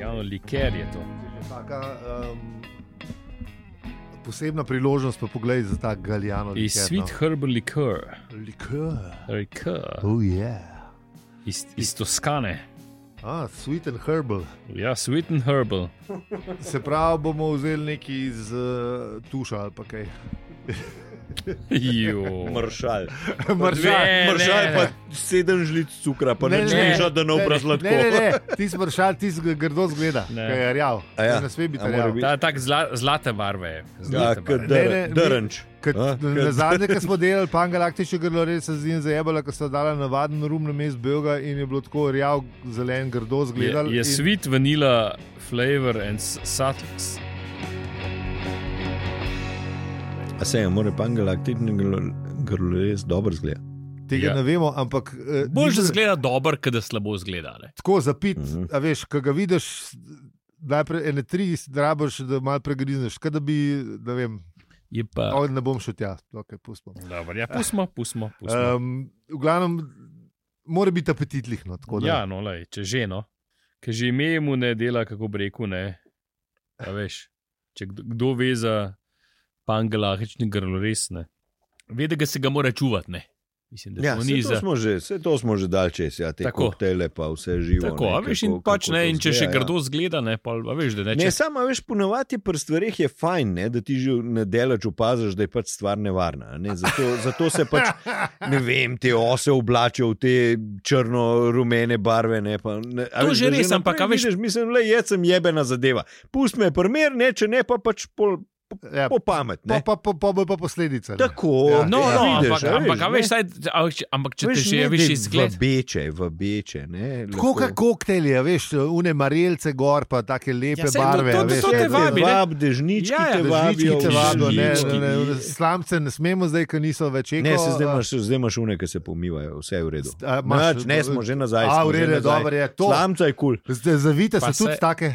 ravno liker je to. Taka, um, posebna priložnost, pa poglej za ta galjano. Iz no. Sweet Herbal Liquor, Likör. Liquor. Oh, yeah. Iz, iz Toskane, Ah, sweet and herbal. ja, Sweet and Herbal. Se pravi, bomo vzeli nekaj iz uh, tuša ali pa kaj. Ju. Maršal. Ne, ne, Maršal ne. pa sedem žlic cukra, pa ne ne, smeš, da ne obraz Ne, ne, lahko. ne, ti smršal, ti z- grdo zgleda, Ne. kaj je rjav. A ja. Ne sme biti A mora rjav. biti- Ta tak zla, zlate barve je. Ja, Zlate kot barve. Ne, ne, mi- dr- drnč. Kad, A, na kad- zadnje, ki smo delali, pa galaktični grlo res se z njim zajebala, ko so dala navaden rum na mest Belga in je bilo tako rjav, zelen, grdo zgledal. Je, je in- sweet vanilla flavor and s- subtle. s- A se je, mora pa galaktični grlo res dobro zgleda. Tega Ja. ja. ne vemo, ampak eh, Bolj že ni- zgleda dobro, kot da slabo zgleda. Ne? tako zapit, Mhm. a veš, ko ga vidiš, najprej ene tri drabiš, da malo pregrizneš, kot da bi, ne vem, Je pa oh, ne bom šel tja, okay, pustimo. Dobar, ja, pustimo, pustimo. pustimo. Um, v glavnem, mora biti apetitlihno. tako da- Ja, no, lej, če že no. Ker že ime mu ne dela, kako bi rekel. Ne. A veš, če kdo, kdo ve za pangalahični grlo, res ne. ve, da ga se ga mora čuvati. Ne? Mislim, da Ja, ja, vse, ni to za. smo že, vse to smo že dal čez, ja, te Tako. koktele pa vse živo. Tako, ne, a veš, in kako- pač kako ne, to in če še zgleda, ja. grdo zgleda, ne, pa veš, da ne. Ne, Če, samo a veš, ponovadi pri stvarih je fajn, ne, da ti že na delač opaziš, da je pač stvar nevarna. a Ne. Zato, zato se pač, ne vem, te ose oblačijo v te črno-rumene barve. Ne, pa, ne, a To veš, že da res, ampak, naprej a veš- Vidiš, mislim, le jaz sem jebena zadeva. Pust me primer, ne, če ne, pa pač pol, Ja, po pamet. pa, Ne. pa, pa, pa bo pa posledica. ne. Tako, Ja, no, ja. no, ampak, a ampak, a veš, ne. saj, a, veš, ampak če te Veš, že ne, veš da izgled. Vabeče, vabeče. Ne, Tako lepo. kot koktelji, a veš, une marelce gor, pa take lepe Ja, ja, sej, barve. to- a to- veš, to te ja, vabi, ne. Vab, dežnički Ja, ja, te Dežnički vabijo. te v vabijo, ne, žlički. ne, ne, slamce ne smemo zdaj, ker niso več eko. Ne, se zdaj imaš, zdaj imaš une, ki se pomivajo, vse je v redu. A, imaš- Nač, ne, smo že nazaj. A, v redu, dobro je to. Slamca je kul. Zdaj, zavite Pa se tudi se- take.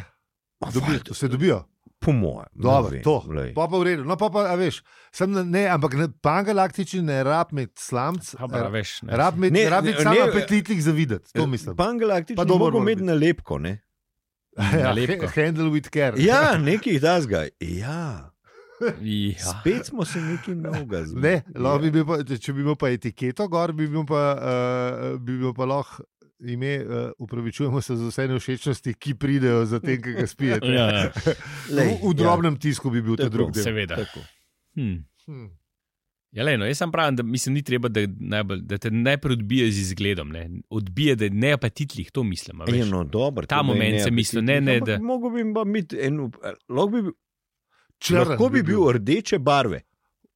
Dobijo, to se dobijo. Po mojem. ne Dobro, no, vem, to. glej. Pa pa v redu. No, pa pa, a veš, sem na- ne, ampak ne- pangalaktični ne rab med slamc. Dobra, veš, ne. Rab med, Ne, ne, rab med ne, ne, samo ne, apetitnih za videti, to mislim. Pa Pangalaktični pa dober mogo mora imeti biti. nalepko, ne? Ja, nalepko. ha- handle with care. Ja, nekih dasga. Ja, Ja. spet smo se nekaj novega zbudili. Ne, lahko bi bil pa, če- če bi imel pa etiketo gor, bi imel pa, uh, bi imel pa lahko ime, uh, upravičujemo se za vse nevšečnosti, ki pridejo za tem, ki ga spijete. Ja, ja, Lej, v, v drobnem ja. tisku bi bil ta Tako, drug del. seveda. Tako. Hm. Hm. Ja, lej, no, jaz sem pravil, da mislim, ni treba, da, najbolj, da te najprej odbije z izgledom. Ne. Odbije, da je neapetitlih, to mislim. a veš. Je, no, dober, Ta moment sem mislil, ne, ne, da- Mogo bi jim pa biti en, up- lahko bi, bil- Črn lahko bi bil rdeče barve.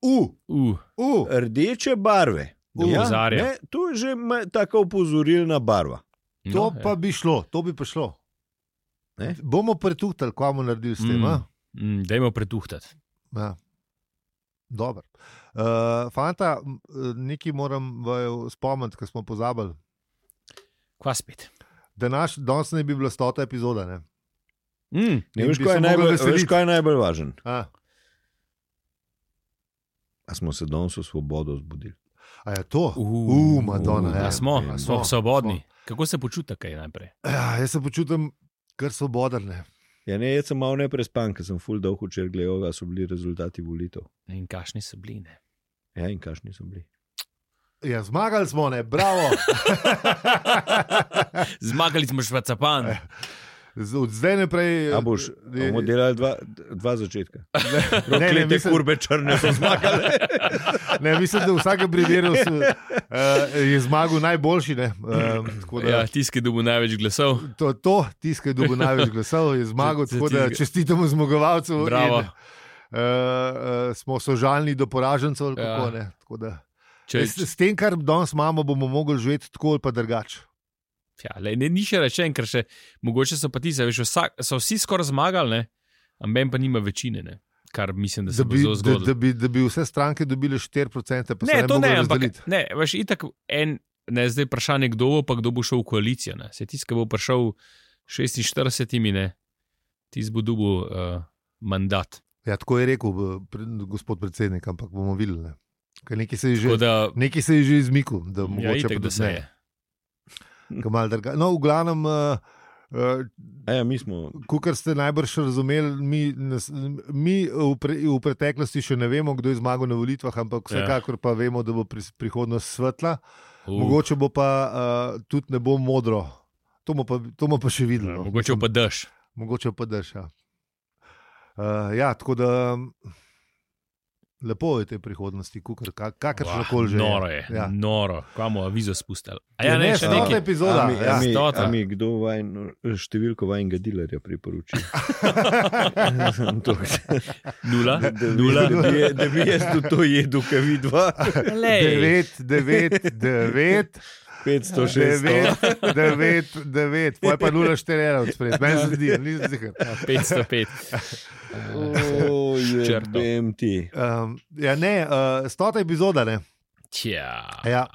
U, Uh, u. Rdeče barve. Ja, Da opozarja. ne, to je že ma- taka opozorilna barva. To no, ja. pa bi šlo, to bi prišlo. Ne? Bomo pretuhtali, kaj bomo naredili s tem. Mm. a? Ja. Mm, dajmo pretuhtati. Ja. Dobro. Uh, fanta, m, eh, nekaj moram vaju spomniti, ker smo pozabili. Kva spet? Da naš danes ne bi bila stota epizoda. Ne? Mm, Ne In veš, bi kaj je se mogli najbolj, veš, veseliti. kaj je najbolj važno. A, A smo se danes v svobodo zbudili. a je to? Uh, Uh, Madonna. uh, ja. Ja, smo, ja, smo smo, svobodni. Kako se počutite, kaj najprej? Ja, jaz se počutim kar svoboden. ne. Ja, ne, jaz sem malo neprespan, ker sem full dolg včeraj gledal, da so bili rezultati volitev. In kakšni so bili? ne? Ja, in kakšni so bili. Ja, zmagali smo, ne, bravo. Zmagali smo švacapan. Eh, Z- Od zdaj naprej. A boš, ne, bomo delali dva, dva začetka. ne, ne, Roklete mislim- kurbe črne so zmagale. ne, mislim, da v vsakem primeru s- eh, je zmagal najboljši. ne. Ehm, tako da- Ja, tiski dobil največ glasov. To, to tiskaj dobo največ glasov, je zmagal, Za- za tako da tistega. čestitamo zmagovalcu. Bravo. In, Uh, uh, smo sožalni do poražencev, ali Ja. kako ne. Tako Da, Če, s, s tem, kar danes imamo, bomo mogli živeti tako ali pa drugače. ja, le, ne, ni še rečen, ker še mogoče so pa ti, saj veš, vsak, so vsi skoraj zmagali, ne? amben pa nima večine, ne? kar mislim, da se Da, bo bi- zelo da, zgodilo. da, bi- da bi vse stranke dobile 4%, pa se Ne, ne to mogle ne, ampak razdeliti. ne, veš, itak en, ne, zdaj je vprašanje, kdo bo, pa kdo bo šel v koalicijo. Ne. Se tisti, ki bo prišel 46, ne, tisti bo dubu uh, mandat. Ja, tako je rekel eh, pre, gospod predsednik, ampak bomo videli. Ne. Ker Nekaj se je že, Tako da, nekaj se je že izmikal, da ja, mogoče itak, pa da se ne. je. Ko malo druga- No, v glavnem, uh, Uh, A Ja, mi smo. Kukar ste najbrž razumeli, mi, nas- mi v, pre, v preteklosti še ne vemo, kdo je zmagal na volitvah, Ja. ampak vsekakor pa vemo, da bo pri, prihodnost svetla. Uh. Uh, Mogoče bo pa uh, tudi ne bo modro. To bomo pa, to bomo pa še videli. no. Ja, mogoče pa daš. Mogoče pa drša. Uh, ja, tako da um, lepo je te prihodnosti, kukar, kak- kakršno koli že. je. Noro je, Ja. ja. noro, kamo avizo spustili. A Je ja, ne, ne, še stota nekaj. epizoda, a mi, ja. a mi, Stota. a mi kdo vajn, številko vajnega dilerja priporoči? Toliko. Nula, Da, da, nula. da, bi, je- da bi jaz tudi to jedel, kaj vi dva. Lej. 9, 9, 9, 500, 9, 600. 9, 9, poj pa 0, 4, 1, spred. Meni se zdi, nisem zihar. 505. Črto. Črtem ti. Um, ja, ne, uh, stota epizoda, ne. Tja. Ja.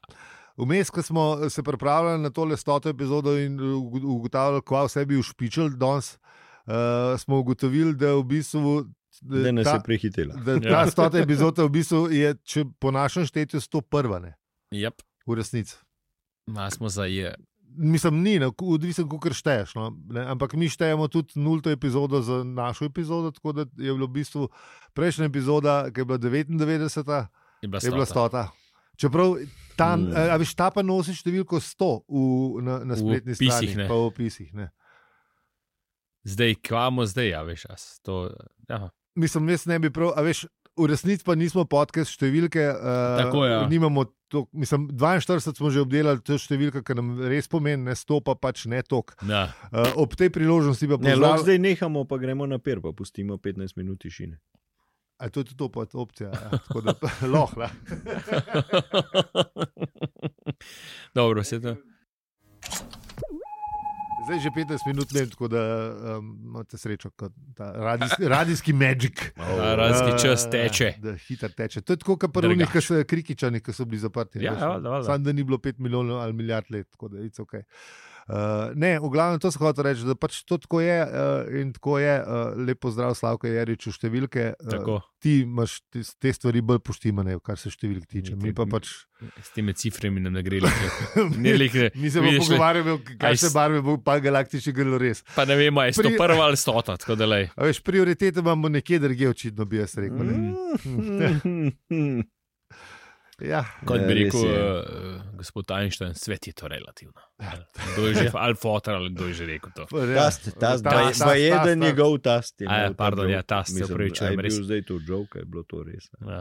Vmes, ko smo se pripravljali na tole stoto epizodo in ugo- ugotavljali, kva vse bi ušpičili danes, uh, smo ugotovili, da v bistvu. da Da nas je ta- prehitela. Da, ta Ja. stota epizoda v bistvu je, če po našem štetju, 101, ne, Yep. v resnici. Ma smo za je. Mislim, ni, no, odvisen, kako šteješ. No, ne, ampak mi štejemo tudi nulto epizodo za našo epizodo, tako da je bilo v bistvu prejšnja epizoda, ki je bila 99, Je bila je bila stota. stota. Čeprav tam, Mm. mm. a veš, ta pa nosi številko 100 v, na, na V spletni opisih, strani, ne. pa v opisih. Ne. Zdaj, kvamo zdaj, ja, veš, a s to, ja. Mislim, jaz ne bi prav, a veš, v resnici pa nismo podcast številke. Uh, Tako, ja. Nimamo to, mislim, 42 smo že obdelali, to je številka, ki nam res pomeni, ne 100 pa pač ne tok. Na, Uh, ob tej priložnosti pa Ne, lahko pozdravljam. zdaj nehamo, pa gremo na per, pa pustimo 15 minut tišine. A to je tudi to pa opcija, ja, tako da lahko. ja. Dobro, vse to. Zdaj že 15 minut ne, tako da um, imate srečo, kot ta radijski, radijski magic. Oh. Ta Ja, radijski čas teče. Da hitro teče. To je tako, kot Drugače. prvih, ki so krikičani, ki so bili zaprti. Ja, veš, valjda, valjda. Samo da ni bilo 5 milijonov ali milijard let, tako da je ok. Uh, ne, v glavnem to sem hotel reči, da pač to tako je uh, in tako je. Uh, lepo zdrav, Slavko Jariču, številke. Uh, Tako, ti imaš te, te stvari bolj poštimane, kar se številk tiče. Mi pa pač. s temi ciframi nam ne gre. Ne, lihne. Mi se bomo Vidiš, ne. pogovarjali, Aj kaj s- se barve bo pa galaktični galores. Pa ne vemo, a je to Pri- prva ali stota, tako da le. A veš, prioritete imamo nekje drugje, očitno bi jaz rekel. Mhm. ne. Mm. Ja, Kot bi Ja, rekel res uh, je. Ja. gospod Einstein, svet je to relativno. Kdo je že, ali fotor, ali kdo je že rekel to. ja. Tast, tast, Ta- ta, tast, ta, pa je, tast, da tast. njegov tast. je A ja, imel ta pardon, joke. ja, tast, se Mislim, opravičujem, a je res. bil zdaj to joke, a je bilo to res. Ja.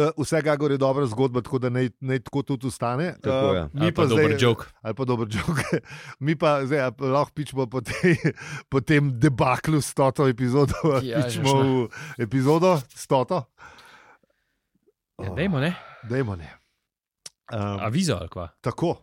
Eh, Vsega gor je dobra zgodba, tako da naj, naj tako tudi ostane. Tako, ja. Eh, Ali pa dober joke. Ali pa dober joke. Mi pa zdaj a pa lahko pičemo po, tej, po tem debaklu s toto epizodo. Ja, Ja, pičemo v epizodo s toto. Ja, Oh. dajmo, ne? Dajmo ne. Um, Avizo ali kva. tako.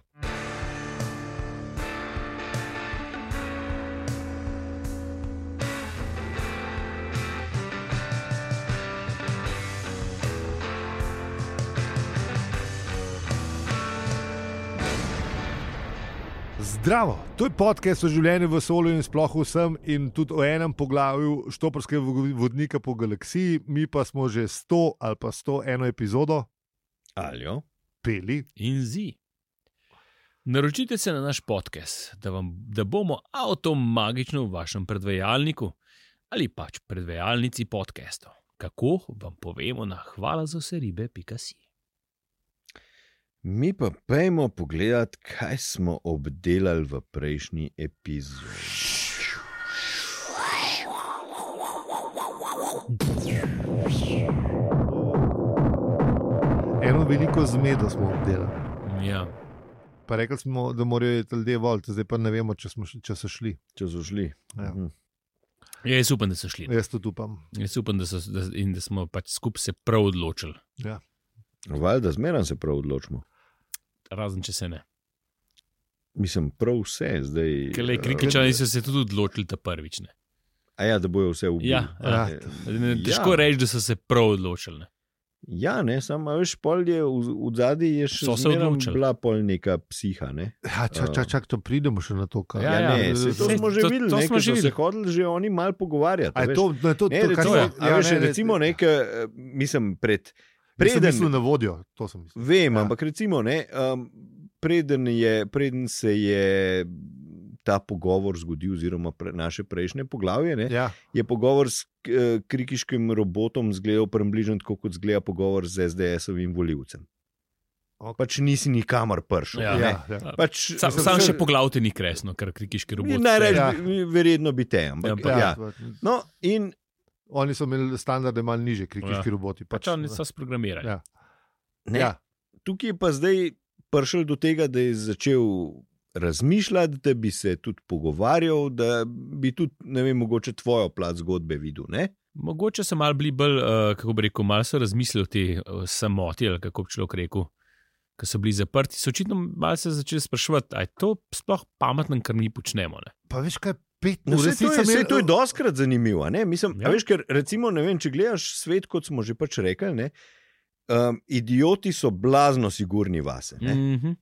Zdravo, to je podcast o življenju v vesolju in sploh vsem, in tudi o enem poglavju Štoprskega vodnika po galaksiji, mi pa smo že 100 ali pa 101 epizodo Aljo, peli. In zi. Naročite se na naš podcast, da, vam, da bomo avtomagično v vašem predvajalniku ali pač predvajalnici podcastov. Kako vam povemo na hvala za vse ribe.si. mi pa pejmo pogledat, kaj smo obdelali v prejšnji epizodi. Eno veliko zmedo smo obdelali. Ja, Pa rekli smo, da morajo iti ljudje voliti, zdaj pa ne vemo, če, smo, š- če so šli. Če so šli. Ja. Mhm. ja, jaz upam, da so Ja. šli. Jaz tudi upam. Jaz upam, da, so, da, in da smo pač skupaj se prav odločili, Valjda, zmeraj se prav odločimo. razen če se ne. Mislim, prav vse zdaj. Ker le krikičani so se tudi odločili ta prvič. Ne? A ja, da bojo vse ubili. Ja, ja. Eh, Ne, Težko ja. reči, da so se prav odločili. Ne? Ja, ne, samo a veš, pol je v zadnji je še So se zmeraj odločili. bila pol neka psiha. Ne? Ja, čak, čak, čak, to pridemo še na to, kaj Ja, Um. Ja, ne, ja, saj to sej, smo že to- videli, to ne, smo ker že so se videli. hodili že oni mal pogovarjati. A a je veš. to, ne, to, ne, to, kar ja, recimo, se- a veš, recimo nek, mislim, pred, Preden preden, mislil na vodjo, to sem mislil. vem, Ja. ampak recimo, ne, um, preden, je, preden se je ta pogovor zgodil, oziroma pre, naše prejšnje poglavje, ne, Ja. je pogovor s eh, krikiškim robotom zgledal približno tako, kot zgleda pogovor z SDS-ovim voljivcem. Ok. Pač nisi nikamor prišel. Ja. ne. Ja, ja. Pač, Sam, Mislim, sam še- še poglavite ni kresno, ker krikiški robot. Najraž, Ja. ja. verjetno bi te, ampak Ja, ja, Ja, ja. No, in Oni so imeli standarde malo niže, krikiški ja. Ja. roboti. Pač Pač, oni so sprogramirani. Ja. Ja. ne, ja. ja, tukaj je pa zdaj prišel do tega, da je začel razmišljati, da bi se tudi pogovarjal, da bi tudi, ne vem, mogoče tvojo plat zgodbe videl. Ne? Mogoče so malo bili bolj, uh, kako bi rekel, malo so razmislili o tej uh, samoti, ali kako bi človek rekel, ki so bili zaprti. So očitno malo se začeli sprašovati, ali je to sploh pametno, kar mi počnemo. Ne? pa veš kaj, pet No, v vse resnici to je, sem vse imel- to je doskrat zanimivo. a ne. Mislim, Ja. ja. veš, ker, recimo, ne vem, če gledaš svet, kot smo že pač rekli, ne, um, idioti so blazno sigurni vase. Ne? Mm. Mhm.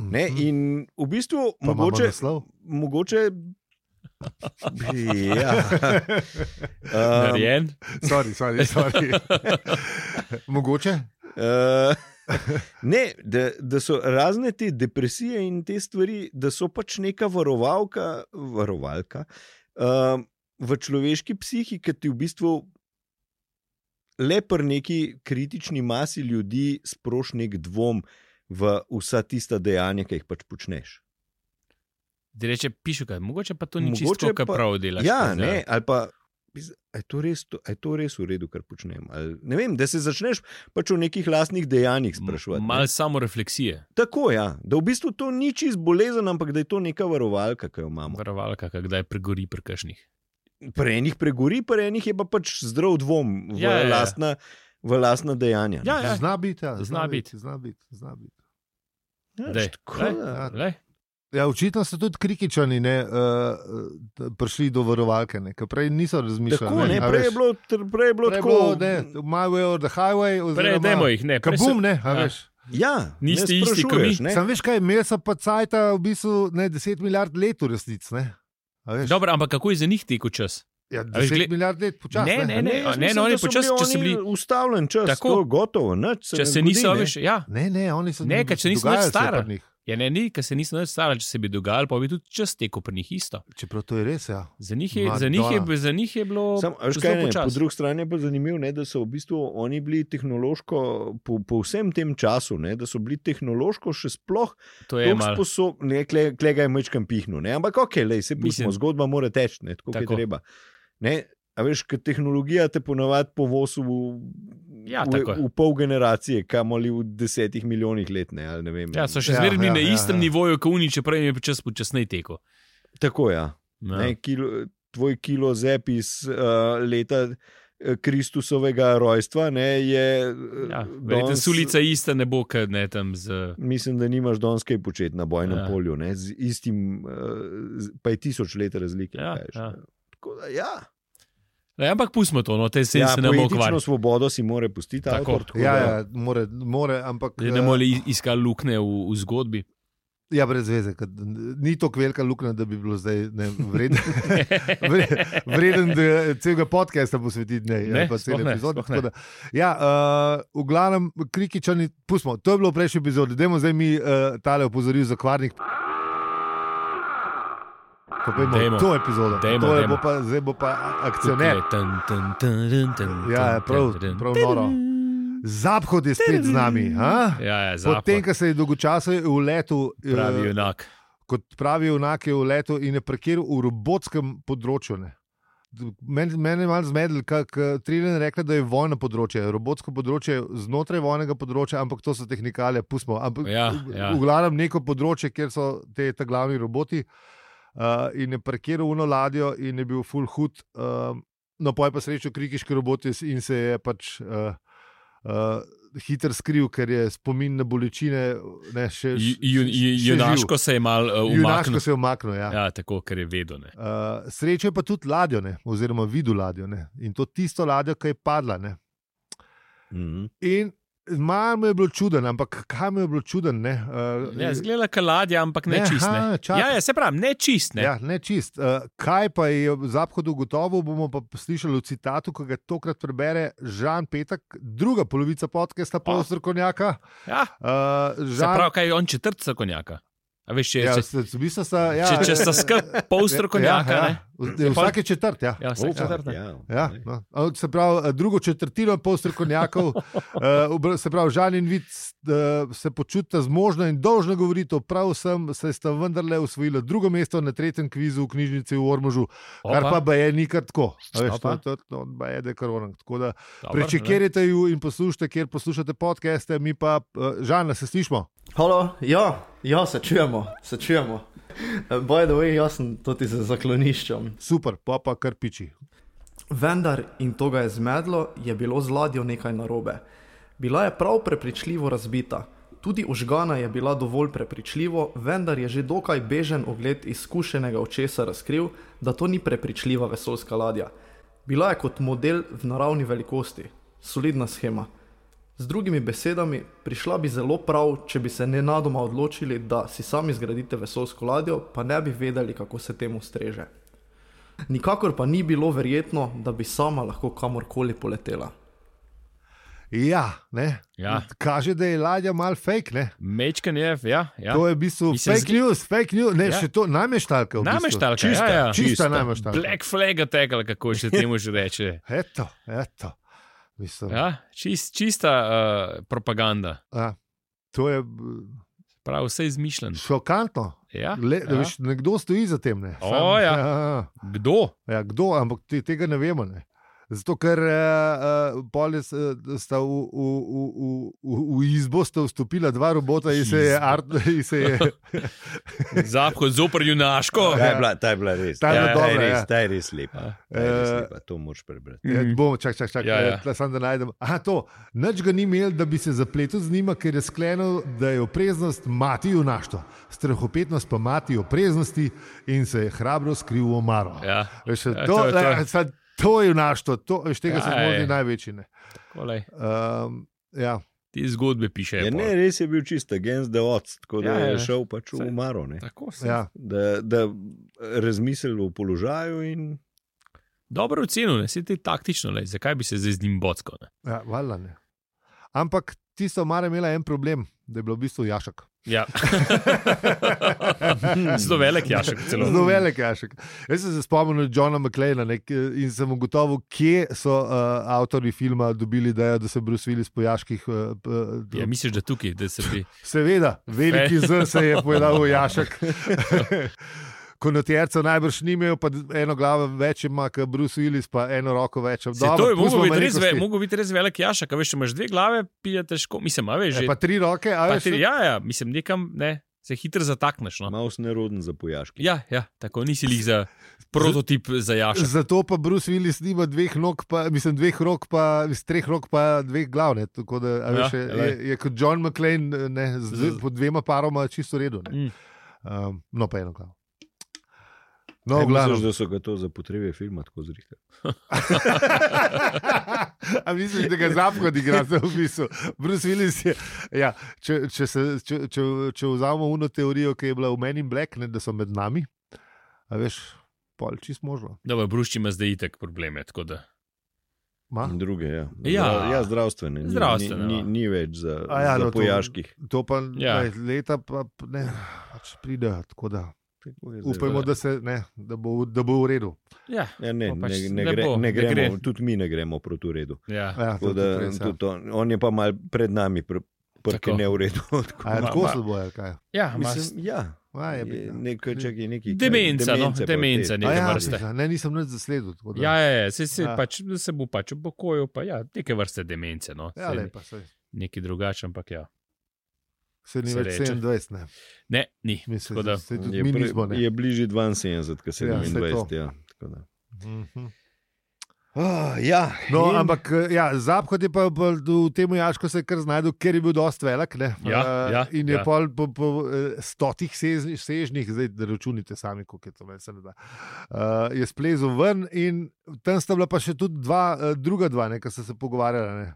Mhm. Ne, in v bistvu, Pa imamo mogoče, naslov. mogoče. Ja. Um, Narejen. Sorry, sorry, sorry. Mogoče? Eh, ne, da, da so razne te depresije in te stvari, da so pač neka varovalka, varovalka uh, v človeški psihi, ki ti v bistvu le pri neki kritični masi ljudi sproš nek dvom v vsa tista dejanja, ki jih pač počneš. Da reče, piše kaj, mogoče pa to ni Mogoče čisto, kar pa- prav delaš. Ja, zdaj. ne, ali pa. biz- a Je to, res, to, a je to res v redu, kar počnem? Ali, ne vem, da se začneš pač o nekih lastnih dejanjih sprašovati. ne. Malo samo refleksije, Tako je, ja. da v bistvu to ni čist bolezen, ampak da je to neka varovalka, ki jo imamo. varovalka, kako kdaj pregori pri kašnih. Pri enih pregori, pri enih je pa pač zdrav dvom v, Ja, ja, ja, ja. lastna, v lastna dejanja. Ja, ja. Zna biti, ja, Zna biti. Zna biti, zna biti. ja, Daj, daj, daj. Ja, očitno so tudi krikičani ne, uh, prišli do varovalke, ne, ker prej niso razmišljali. Tako, ne, a prej je veš. bilo, tr- prej je bilo Prej je tako. bilo, ne, my way or the highway. Prej, oziroma- dajmo jih, ne, prej so- Kabum, ne, a Ja. veš. ja, ne Niste isti, kot sprašuješ, mi. ne. Sam veš kaj, imeli so pa cajta v bistvu ne, 10 milijard let v resnici. ne, a veš. Dobro, ampak kako je za njih tekel čas? Ja, A veš, 10 gled- milijard let počasi. Ne, ne, ne, jaz ne, mislim, no, oni da so počasi, bili če so oni bili- ustavljen čas, Tako. tako to, gotovo. Nič, Če se ne niso, zgodi, ne. veš, ja, Ne, ne, oni so Ne, ker če nismo dogajalo več se je pri stara. njih. ja ne, ni, ker se niso nastavili, če se bi dogajalo, pa bi tudi čas tekel pri njih isto. Čeprav to je res, ja. Za njih je, za njih Madonna. je, za njih je bilo. Sam, a veš, zelo kaj, ne, po počasi. drugi strani je pa zanimivo, ne, da so v bistvu oni bili tehnološko, po, po vsem tem času, ne, da so bili tehnološko še sploh To je tako malo. sposobni, klega je mečkam pihnu. Ne? Ampak ok, lej, se Mislim- pismo, zgodba mora teči, ne, tako, tako Tako. je treba. Ne? A veš, ker tehnologija te ponavadi povozi v, Ja, tako je. v, v pol generacije, kamoli v desetih milijonih let. Ne, ali ne vem, Ja, so še Ja, zmeraj bili ja, na ja, istem ja. nivoju, kot oni, čeprav jim je čas počasneje tekel. Tako je. Ja. Ja. Ne, kilo, tvoj kilo zep iz uh, leta eh, Kristusovega rojstva ne, je. eh, Ja, danes- Verjetno sulica ista ne bo, ker ne tam z. Mislim, da nimaš danes kaj početi na bojnem Ja. ja. polju, ne, z istim, eh, z- pa je tisoč let razlike. Ja, kaj veš. ja. Tako da, ja. Ne, ampak pustimo to, no, te se, ja, ja, se ne bo poetično ukvarjal. svobodo si mora pustiti. Tako. Avtor, tako Ja, da, ja, more, more, ampak. Zdaj Ja, ne eh, more iskati luknje v, v zgodbi. Ja, brez veze, ker ni tako velika luknja, da bi bilo zdaj ne, vreden, vre- vreden da celega podcasta posvetiti, ne, Ne, ali pa cel sploh ne, epizod. sploh ne. tako da- Ja, uh, v glavnem, krikičani, pustimo, to je bilo v prejšnji epizodi, dajmo zdaj mi uh, tale opozoril za kvarnik. Pa pojdimo Dajmo. v to epizodo, Dajmo, Tole dajmo. bo pa, zdaj bo pa akcioner. Ja, ja, prav, prav noro. Zaphod je spet z nami. a? Ja, ja, za Potem, ko se je dolgočasno v letu, eh, pravi junak. kot pravijo, enak je v letu in je prekiral v robotskem področju. Ne. D- Mene men je malo zmedel, kako Triljen reče, da je vojno področje, robotsko področje znotraj vojnega področja, ampak to so tehnikalije, pustimo. Ampak Ja, v- ja. v glavnem neko področje, kjer so te ta glavni roboti. Uh, in je prekiral uno ladjo, in je bil full hud, uh, no, pa je pa srečo krikiški robot iz- in se je pač uh, uh, hiter skril, ker je spomin na bolečine. Ne, še, Ju- še- ju- ju- eh, še živ. Junaško se je mal uh, umaknil. Junaško se je umaknil. Ja. Ja. Ja, tako, ker je vedel. ne. Uh, srečo je pa tudi ladjo, ne? oziroma videl ladjo. Ne? In to tisto ladjo, ki je padla. Ne? Mhm. In malo mi je bilo čuden, ampak kaj mi je bilo čuden? Ne, uh, Ja, zgleda kaladja, ampak ne Ne, aha, čistne. čakaj. Ja, ja, se pravi, ne čistne. Ja, ne čist. Uh, kaj pa je v zahodu gotovo, bomo pa slišali v citatu, ki ga tokrat prebere Žan Petek, druga polovica podcasta, pol strokovnjaka. Ja. Uh, Se Žan, pravi, kaj je on četrt srkonjaka. A veš, če, Ja, če, se- v bistvu sta, ja, če, če sta skupaj pol strokovnjaka, ja, ja, ja. V- je Vsake četrt, ja. ja, vsak četrt. ne. Ja, Ja, no. A, Se pravi, eh, drugo četrtino pol strokovnjakov, eh, obr- se pravi, Žan in Vid eh, se počutita zmožna in dolžna govoriti o prav vsem, saj sta vendarle osvojila drugo mesto na tretjem kvizu v knjižnici v Ormužu, kar Opa, pa baje ni kar tako. A Veš, to, Opa. to, to baje da koronak. Tako da dobro, ne. prečekirajte ju in poslušajte, kjer poslušate podcaste, mi pa, eh, Žan, a se slišmo. Halo, ja, ja, se čujemo, se čujemo. Boj, da veš, jaz sem tudi z zakloniščem. Super, pa pa kar piči. Vendar, in to ga je zmedlo, je bilo z ladjo nekaj narobe. Bila je prav prepričljivo razbita. Tudi ožgana je bila dovolj prepričljivo, vendar je že dokaj bežen ogled izkušenega očesa razkril, da to ni prepričljiva vesoljska ladja. Bila je kot model v naravni velikosti, solidna schema. Z drugimi besedami, prišla bi zelo prav, če bi se nenadoma odločili, da si sami zgradite vesoljsko ladjo, pa ne bi vedeli, kako se temu streže. Nikakor pa ni bilo verjetno, da bi sama lahko kamorkoli poletela. Ja, ne. Ja. Kaže, da je ladja mal fake, ne. Mečken je, ja. ja. To je v bistvu Mislim, fake zgli- news, fake news, ne, Ja. še to nameštalka. v bistvu. Nameštalka, Čista, ja, ja. Čista Čista. najmaštalka. Black flag attack, ali kako še temu že reče. Eto, eto. Mislim, ja. Ja, čist, čista uh, propaganda, a, to je eh, prav vse izmišljen. šokantno. Mm. Ja, Le, ja. ja. Veš, nekdo stoji za tem. Ne. O, Sam- ja. ja. Kdo? Ja, kdo, ampak te, tega ne vemo. Ne. Zato, ker uh, polis, uh, sta v, v, v, v, v izbo sta vstopila dva robota in se je, Izbo. art, in se je Zahod zoper junaško. Ja. Ta je bila, ta je bila res. Ta je bila ta, je dobra, res ja. ta je res lepa. Ta je res Eh, lepa. To moraš prebrati. Ja, Bom, čak, čak, čak, Ja, ja, ja. ja. Sam da najdem. Aha, to. Nič ga ni imel, da bi se zapletel z njima, ker je sklenil, da je opreznost mati junaštvo, strahopetnost pa mati opreznosti in se je hrabro skril v omaro. Ja, Veš, to, Ja, to, to to. je Le, to. sad, to je junaštvo, to, veš, tega Ja, ja, so morali je. največji. ne. kolej. Um, ja. Te zgodbe piše. Ja, ne, res je bil čist against the odds, tako da Ja, je ja. šel pač v Saj. umaro. Ne? Tako se. Ja. Da, da razmisli o položaju in Dobro ocenil, se ti taktično, le. zakaj bi se zdaj z njim bockal. ne? Ja, valjda ne. Ampak tisto mara imela en problem, da je bilo v bistvu jašek. Ja. Zelo velik jašek celo. Zelo velik jašek. Jaz sem se spomnil Johna McLeana ne, k- in sem ugotovil, kje so uh, avtori filma dobili idejo, da so Bruce Willis po jaških. Uh, p- Ja, misliš, da tukaj, da se bi. Seveda, veliki z se je pojavil jašek. Konotjercev najbrž nimajo, pa eno glavo več ima, kot Bruce Willis, pa eno roko več. Se, to je mogel biti, res, ve, mogel biti res velik jašek, a veš, če imaš dve glave, pije težko. Mislim, a veš, že. že. E, Pa tri roke, a pa veš, no. tri, ja, ja, mislim, nekam ne, se hitro zatakneš. No. malo sneroden za pojaški. Ja, ja, tako nisi lih za prototip za jašek. Zato pa Bruce Willis nima dveh nog, pa, mislim, dveh rok, pa iz treh rok, pa dveh glav. Ne, tako da ja, veš, je, glej. je, je kot John McClane, ne, z, z Z- po dvema paroma čisto redo. ne. Mm. Um, no, pa eno glavo. Kaj No, glavno. Misliš, da so ga to za potrebe filma tako zrihtali. A misliš, da ga zapad igra v bistvu? Bruce Willis je. Ja, če, če, se, če, če, če vzamemo uno teorijo, ki je bila v meni Black, ne, da so med nami, a veš, pol čist možno. Dobro, Brušči ima zdaj itek probleme. tako da- Ma? In druge, ja. Ja. Zdra- ja zdravstvene. Ni, Zdravstvene, Ni, ja. ni, ni več za, no. A ja, za no, to- pojaških. To pa Ja. ja. ne, leta pa p- ne, pač pridejo. tako Da. Tako je zdaj. Upajmo, da, se, ne, da, bo, da bo v redu. Ja, Ja, ne, To pač ne, ne, ne gre, bo, ne ne gremo, gre. tudi mi ne gremo proti uredu. ja. Ja, Tako da, res, ja. tudi on, on je pa mal pred nami, pr, prke Tako. ne v redu. tako. A je Ma- tako ma- se boje, ali kaj. ja mislim, Mislim, ja, A, je, je bitno. nekaj, čakaj, nekaj. Demenca, no, demenca, A neka ja, vrste. bitno. ne, nisem nič zasledil. tako da- ja, ja, ja se, se, Ja. ja. Pač, se bo pač upokojil, pa ja, neke vrste demence. No. ja Saj lepa, sej. Nekaj drugače, ampak ja. Se ni Se več reče. 27, ne. Ne, ni. Tako Mislim, da- da se tudi mi nismo. Ne. je bližje 72, kot Ja, saj to. 27. Ja, tako da. Mhm. Ah, ja, No, in- ampak eh, ja, Zapad je pa bolj v tem jašku se je kar znašel, ker je bil dosti velik. ne. Ja, Eh, ja, in je ja. pol po, po eh, stotih sežni- sežnjih, zdaj da računite sami, koliko je to meni se ne da. eh, Je splezel ven in tam sta bila pa še tudi dva, eh, druga dva, ne, ki sta se pogovarjala. Ne.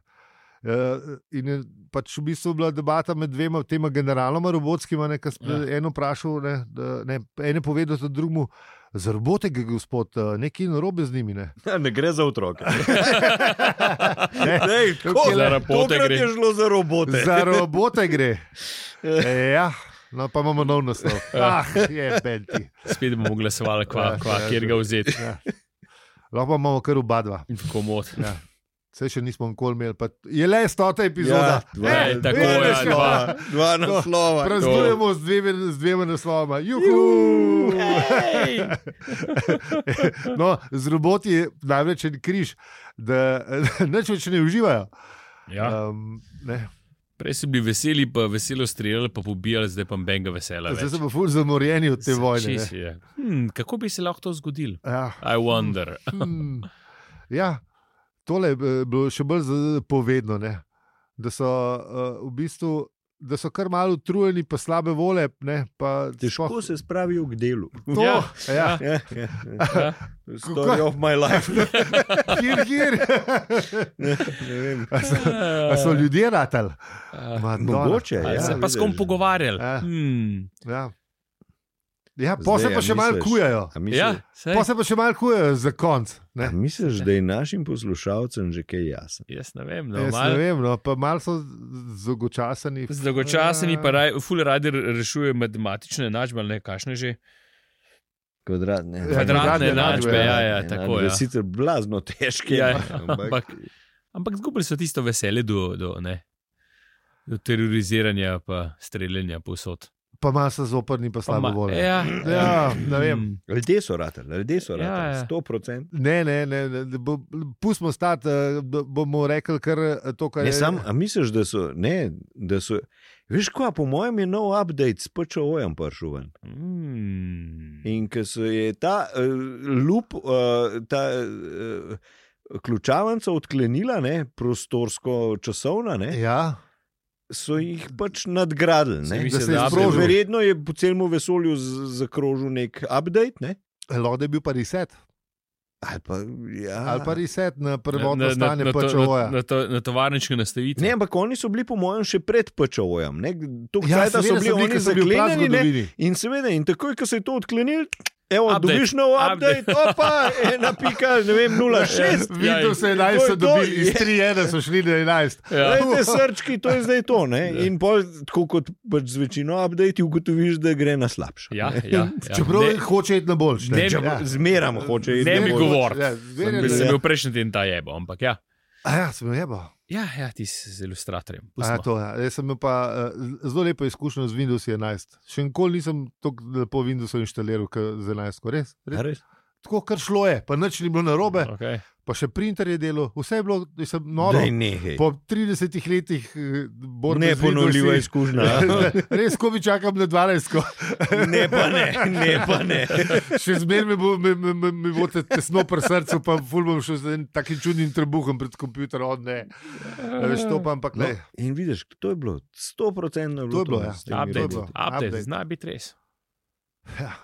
Eh, In je pač v bistvu bila debata med dvema tema generaloma, robotskima, ne, ki sta Ja. eno vprašal, ne, da- ne, en je povedal tudi drugemu, za robote, gre, gospod, eh, nekaj je narobe z njimi. Ne. ne gre za otroke. Ne. Tukaj Dej, tako, le- Za rabote tokrat gre. je šlo za robote. Za robote gre. E, ja, No, pa imamo nov naslov. Ja. Ah, je benti. Spet bomo glasovali, kva, Ja, kva, ja, kjer že. ga vzeti. Lahko pa imamo kar oba dva. Komod. Ja. Vse še nismo nikoli imeli. pa Je le stota Ja, epizoda. dva, Eh, je, ja, tako veš je, kaj? naslova, dva naslova. Praznujemo z dvema, z dvema naslovoma. Juhu! No, z roboti je največ en križ, da neč več ne uživajo. Ja. Um, ne. Prej so bili veseli, pa veselo streljali, pa pobijali, zdaj pa benga vesela. Zdaj več. smo ful zamorjeni od te vojne. Čist ne. je. Hm, kako bi se lahko to zgodilo? Ja. I wonder. Hmm. ja, tole je eh, bilo še bolj z- povedno, ne? da so eh, v bistvu. Da so kar malo utrujeni, pa slabe vole. Ne, pa Težko sploh- se spravijo k delu. to. Ja, ja. Ja, ja, ja. Story of my life. Hir, hir. Ne, ne vem. A so ljudje ratali? Eh, Madonna. Mogoče. ali Ja, se pa s kom vidiš. pogovarjali. Ja. Hmm. Ja, ja Zdaj, posebej a pa še malo misliš- kujajo. a misliš- Ja, sej, Posebej pa še malo kujajo za konc. a Ne? Misliš, da je našim poslušalcem že kaj jasno? jaz ne vem. No, Jaz ne malo- vem, no, pa malo so zogočasani. Zdolgočaseni Ja. pa raj, ful radi rešujejo matematične enačbe, ali ne kakšne že. Kvadratne, ja, Kvadratne enačbe, ja, ja, tako, ja. Sicer blazno težke, Ja, ja, ja, ampak ampak- Ampak zgubili so tisto veselje do, do, ne, do teroriziranja, pa streljanja povsod. Pa malo so zoprni, pa Pa slabo ma- voljo. Ja, Ja, ne vem. Mm. ljudje so ratali, ljudje so Ja, ratali, ja. sto procent. Ne, ne, ne, ne da bo, pustimo stati, eh, bo- bomo rekli, kar eh, to, kar Ne, je. sam, a misliš, da so, ne, da so, veš kva, po mojem je nov update s PČO-jem prišel ven. Mm. In ker se je ta uh, lup, uh, ta uh, ključavnica odklenila, ne, prostorsko časovna, ne, Ja, so jih pač nadgradili. Se mi Ne. da se se je da sprožil. update- Verjetno je po celem vesolju z- zakrožil nek update. Ne? Lode je bil pa reset. Ali pa, ja. Ali pa reset na Na- prvotno na- stanje pač na to- PČO-ja. na- Na, to- na tovarniške nastavitve. Ne, ampak oni so bili, po mojem, še pred PČO-jem. To Ja, ja, so seveda bili oni ker so bili v zaklenjeni. ne. prazgodovini. In seveda, in takoj, ko se je to odklenil, evo, Update. update. dobiš nov update, update. opa, ena pika, ne vem, 0,6. Videl se je to 11, je Ja, so to, dobili, iz je. 3-1 so šli na 11. Ja. Glejte, srčki, to je zdaj to. Ne? Ja. In pol, tako kot pač z večino update, ugotoviš, da gre na slabše. Ja, ja, ja. Čeprav ne, hoče iti na boljše. ne bi- ja. Zmeramo hoče iti. Ne na bi bolj. govoril. govoril. Ja, Sem bi zmeraj se se bil- imel prejšnji teden ta jebo, ampak ja. Ja, sem jo jebal. Ja, ja ti si z ilustratorjem. A, pustimo. to, ja. Jaz sem imel pa eh, zelo lepo izkušnjo z Windows 11. Še nikoli nisem tako lepo Windows inštaliral kot z 11, ko res. A res. res? Tako kar šlo je, pa nič ni bilo narobe, Okay. pa še printer je delo, vse je bilo, sem noro. Daj, No, nehaj. Po 30 letih eh, borbe z Neponovljiva Windowsi- izkušnja. ja. Res, ko bi čakal na 12, ko. Ne, pa ne, ne, pa ne. še zmeraj me, bo- me, me, me, me bo te tesno pri srcu, pa ful bom šel z enim takim čudnim trebuhom pred komputerom. Ne, A Ja, veš to pa, ampak No, ne. in vidiš, to je bilo, sto procentno To je bilo, ja. s temi Eh, Update, bilo. roboti. update, Update. zna biti res. ja.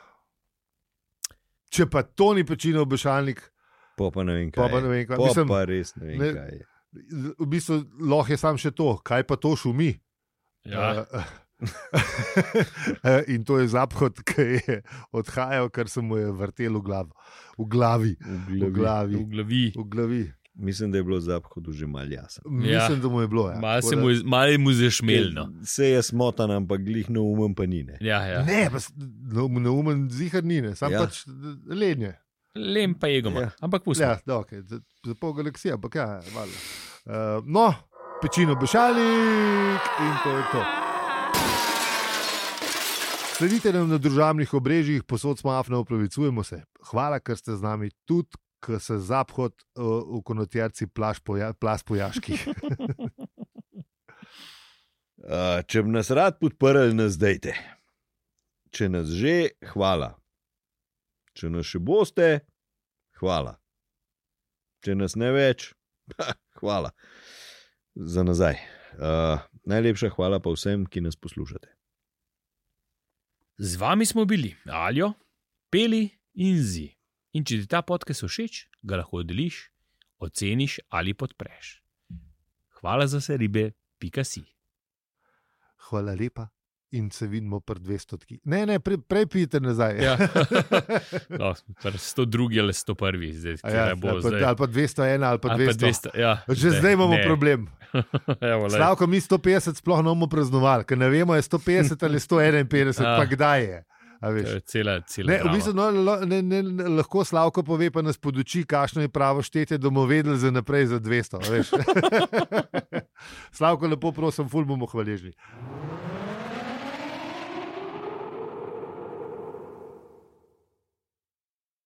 Če pa to ni pečino obešalnik, Po pa ne vem, kaj. pa, pa ne je. vem, kaj Po mislim. pa res ne vem, ne- kaj. je. V bistvu lahko je sam še to, kaj pa to šumi. Ja. Eh, eh, In to je zapad, ki je odhajal, ker se mu je vrtel v glavo. V glavi. V V glavi. glavi. Ja, V glavi. V glavi. Mislim, da je bilo v zaphodu že malo jasno. Ja. Mislim, da mu je bilo. Ja. Malo Tako se da- mu je- malo je mu zašmelno. Se je smotan, ampak glih neumen pa ni. Ne. Ja, ja. Ne, pa s- neu- neumen zihar ni, ne, sam ja. Ja. pač lednje. Lem pa je goma, Ja. ampak pusti. Ja, da, okay. za, za pol galaksije, ampak ja, valjda. Uh, no, pečino bešalik in to je to. Sledite nam na družabnih obrežjih, posod smo afna, upravičujemo se. Hvala, ker ste z nami tudi, ker se zaphod uh, v konotarci poja, plas pojaških. Uh, če bi nas rad podprli, nas dejte. Če nas že, hvala. Če nas še boste, hvala. Če nas ne več, hvala. Za nazaj. Uh, najlepša hvala pa vsem, ki nas poslušate. Z vami smo bili Aljo, Peli in Zi. In če ti ta podcast všeč, ga lahko deliš, oceniš ali podpreš. Hvala za vse ribe, pika si. Hvala lepa, in se vidimo pri 200. Ne, ne, pre, prej pijte nazaj. Ja. No, pri 102 ali 101, zdaj A ja, ja, bo ali, pa, zdaj. ali pa 201, ali pa Ali pa 200, 200. ja, Že zdaj imamo ne. problem. Evo, lej. Slavko, mi 150 sploh ne bomo praznovali, ker ne vemo, je 150 ali 151, Ah. pa kdaj je. a veš. To je Cela, cela Ne, v bistvu, no, lo- ne, ne, ne, lahko Slavko pove, pa nas poduči, kakšno je pravo štetje, da bomo vedeli za naprej za 200. a veš. Slavko, lepo prosim, ful bomo hvaležni.